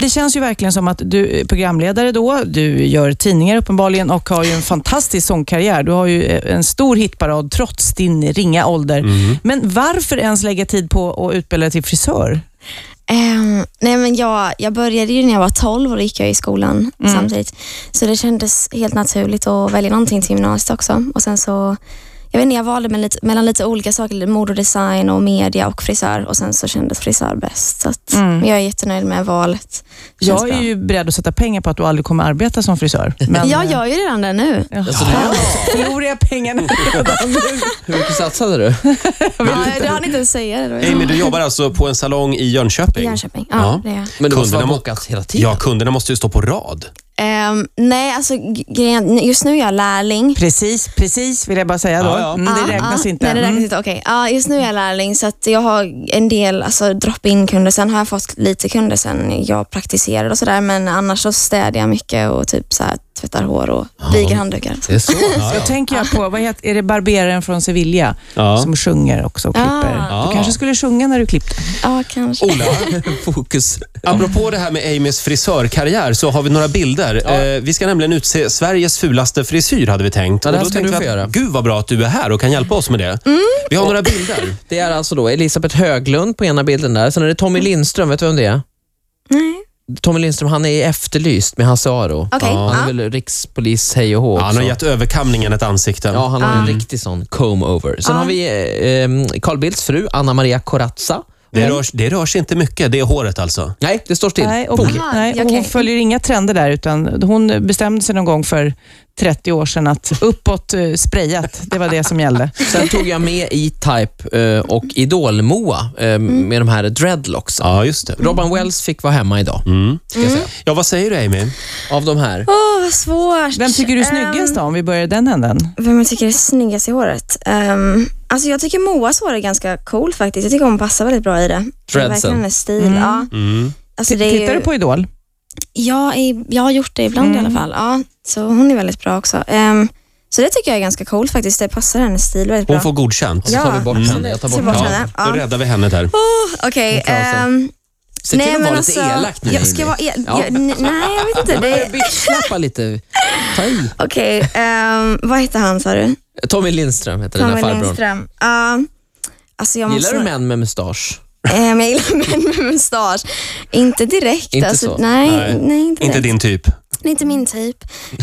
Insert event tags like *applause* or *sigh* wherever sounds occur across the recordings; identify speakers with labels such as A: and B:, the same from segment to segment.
A: det känns ju verkligen som att du är programledare då. Du gör tidningar uppenbarligen och har ju en fantastisk sångkarriär. Du har ju eh, en stor hitparad trots din ringa ålder. Men varför ens lägga tid på att utbilda dig till frisör?
B: Ehm, nej men jag, jag började ju när jag var 12 och då gick jag i skolan samtidigt. Så det kändes helt naturligt att välja någonting till gymnasiet också. Och sen så, jag vet inte, jag valde mellan lite, mellan lite olika saker, mode och design och media och frisör och sen så kändes frisör bäst. Så att, men jag är jättenöjd med valet. Det känns
A: Jag
B: bra.
A: är ju beredd att sätta pengar på att du aldrig kommer arbeta som frisör. Men,
B: Jag gör ju redan det nu.
A: Ja.
C: Alltså,
A: *laughs*
C: det-
A: Förlorar jag pengarna redan nu?
C: Hur mycket satsade du?
B: Ja, det har ni inte ens säga det då.
D: Amy, du jobbar alltså på en salong i Jönköping?
B: I Jönköping, ja,
D: Ja.
B: det är jag.
C: Men du måste
D: Kunderna
C: ha
D: må-
C: bockat hela tiden.
D: Ja, kunderna måste ju stå på rad.
B: Ehm, nej, alltså g- grejen, just nu är jag lärling.
A: Precis, precis vill jag bara säga då.
D: Ja, ja.
A: Mm, det
B: Ja,
A: räknas
B: ja.
A: inte.
B: Ah, Nej, det räknas
A: Mm.
B: inte. Okej. Ja, just nu är jag lärling så att jag har en del alltså, drop-in kunder. Sen har jag fått lite kunder sen jag praktiserade och sådär. Men annars så städar jag mycket och typ så här, tvättar hår och viger handdukar.
C: Det är så.
A: Då tänker jag på, vad heter, är det barberaren från Sevilla
D: Ja.
A: som sjunger också och klipper?
D: Ja.
A: Du kanske skulle sjunga när du klippte.
B: Ja, kanske.
D: *laughs* Ola,
C: Fokus.
D: apropå det här med Amys frisörkarriär så har vi några bilder. Eh, vi ska nämligen utse Sveriges fulaste frisyr hade vi tänkt.
C: Ja, det här
D: Och då
C: ska
D: tänkte
C: du
D: vi
C: få
D: att,
C: göra.
D: Gud vad bra att du är här och kan hjälpa oss med det.
B: Mm.
D: Vi har några bilder.
C: Det är alltså då Elisabeth Höglund på ena bilden där. Sen är det Tommy Lindström, vet du vem det är?
B: Nej.
C: Tommy Lindström, han är efterlyst med Hasse Aro.
B: Okej.
C: Han är
B: Ja.
C: väl rikspolis hej och hå
D: Ja,
C: också.
D: han har gett överkamningen ett ansikte.
C: Ja, han har en riktig sån comb-over. Sen
B: Ja.
C: har vi eh, eh, Carl Bildts fru, Anna Maria Corazza.
D: Det, rör, det rör sig inte mycket, det är håret alltså.
C: Nej, det står still.
A: Nej, och,
C: Fok.
B: Aha,
A: nej, och
B: okej.
A: hon följer inga trender där, utan hon bestämde sig någon gång för 30 år sedan
B: *laughs*
A: att uppåt eh, sprayat, det var det som gällde.
C: Sen tog jag med E-Type eh, och Idol-Moa eh,
B: Mm.
C: med de här dreadlocks.
D: Ja, just det. Mm.
C: Robban Wells fick vara hemma idag. Ska jag säga.
D: Ja, vad säger du Amy?
C: Av de här.
B: Åh, vad svårt. Ehm,
A: Vem tycker du är snyggast då, om vi börjar i den änden?
B: Vem jag tycker är snyggast i håret? Ehm, alltså jag tycker Moas hår är ganska cool faktiskt. Jag tycker hon passar väldigt bra i det. Det är
C: Dreadsen.
B: verkligen hennes stil. Ja.
D: Mm.
B: Alltså
A: Mm. T-
B: det är
A: Tittar
B: ju-
A: du på Idol?
B: Ja, i- jag har gjort det ibland i
C: Mm.
B: alla fall. Ja, så hon är väldigt bra också. Ehm, så det tycker jag är ganska coolt faktiskt. Det passar hennes stil väldigt
D: Hon
B: bra.
D: får godkänt.
C: Så
B: Ja.
C: tar vi bort
B: Mm.
C: henne. Jag tar
B: Ta
C: bort
B: bort
C: henne.
B: henne.
D: Då
B: Ja.
D: räddar vi henne där.
B: Oh, Okej.
C: Hon klarar sig.
B: ehm,
C: Se till att vara lite elak nu.
B: alltså, jag ska
C: Amy.
B: vara el-
C: Ja.
B: jag, nej, jag vet inte. Det,
C: Bitchslappa lite. Ta i.
B: Okej, ehm, vad heter han sa du?
C: Tommy Lindström heter den
B: Tommy
C: här farbrorn.
B: Lindström. Ja, alltså jag
C: Gillar
B: måste,
C: du män med mustasch?
B: Ehm, jag gillar *laughs* män med mustasch. Inte direkt.
C: Inte
B: alltså,
C: så?
B: Nej,
D: Nej.
B: nej. inte,
D: Inte
B: direkt.
D: din typ.
B: Det är inte min typ.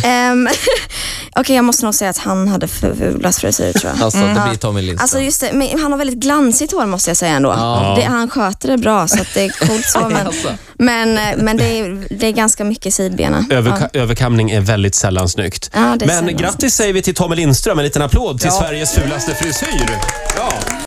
B: Um, *laughs* Okej, jag måste nog säga att han hade f- fulast frisyr tror jag.
C: Alltså, det
B: Ja.
C: blir Tommy Lindström.
B: Alltså just det, men han har väldigt glansigt hår måste jag säga ändå.
C: Ja.
B: Det, han sköter det bra så att det är coolt
C: *laughs*
B: så. Men,
C: Alltså.
B: men, eh, men det, är, det är ganska mycket sidbena.
D: Överka- Överkamning är väldigt sällan snyggt.
B: Ja, det är
D: Men
B: sällan.
D: grattis säger vi till Tommy Lindström. En liten applåd till Sveriges fulaste frisyr. Ja.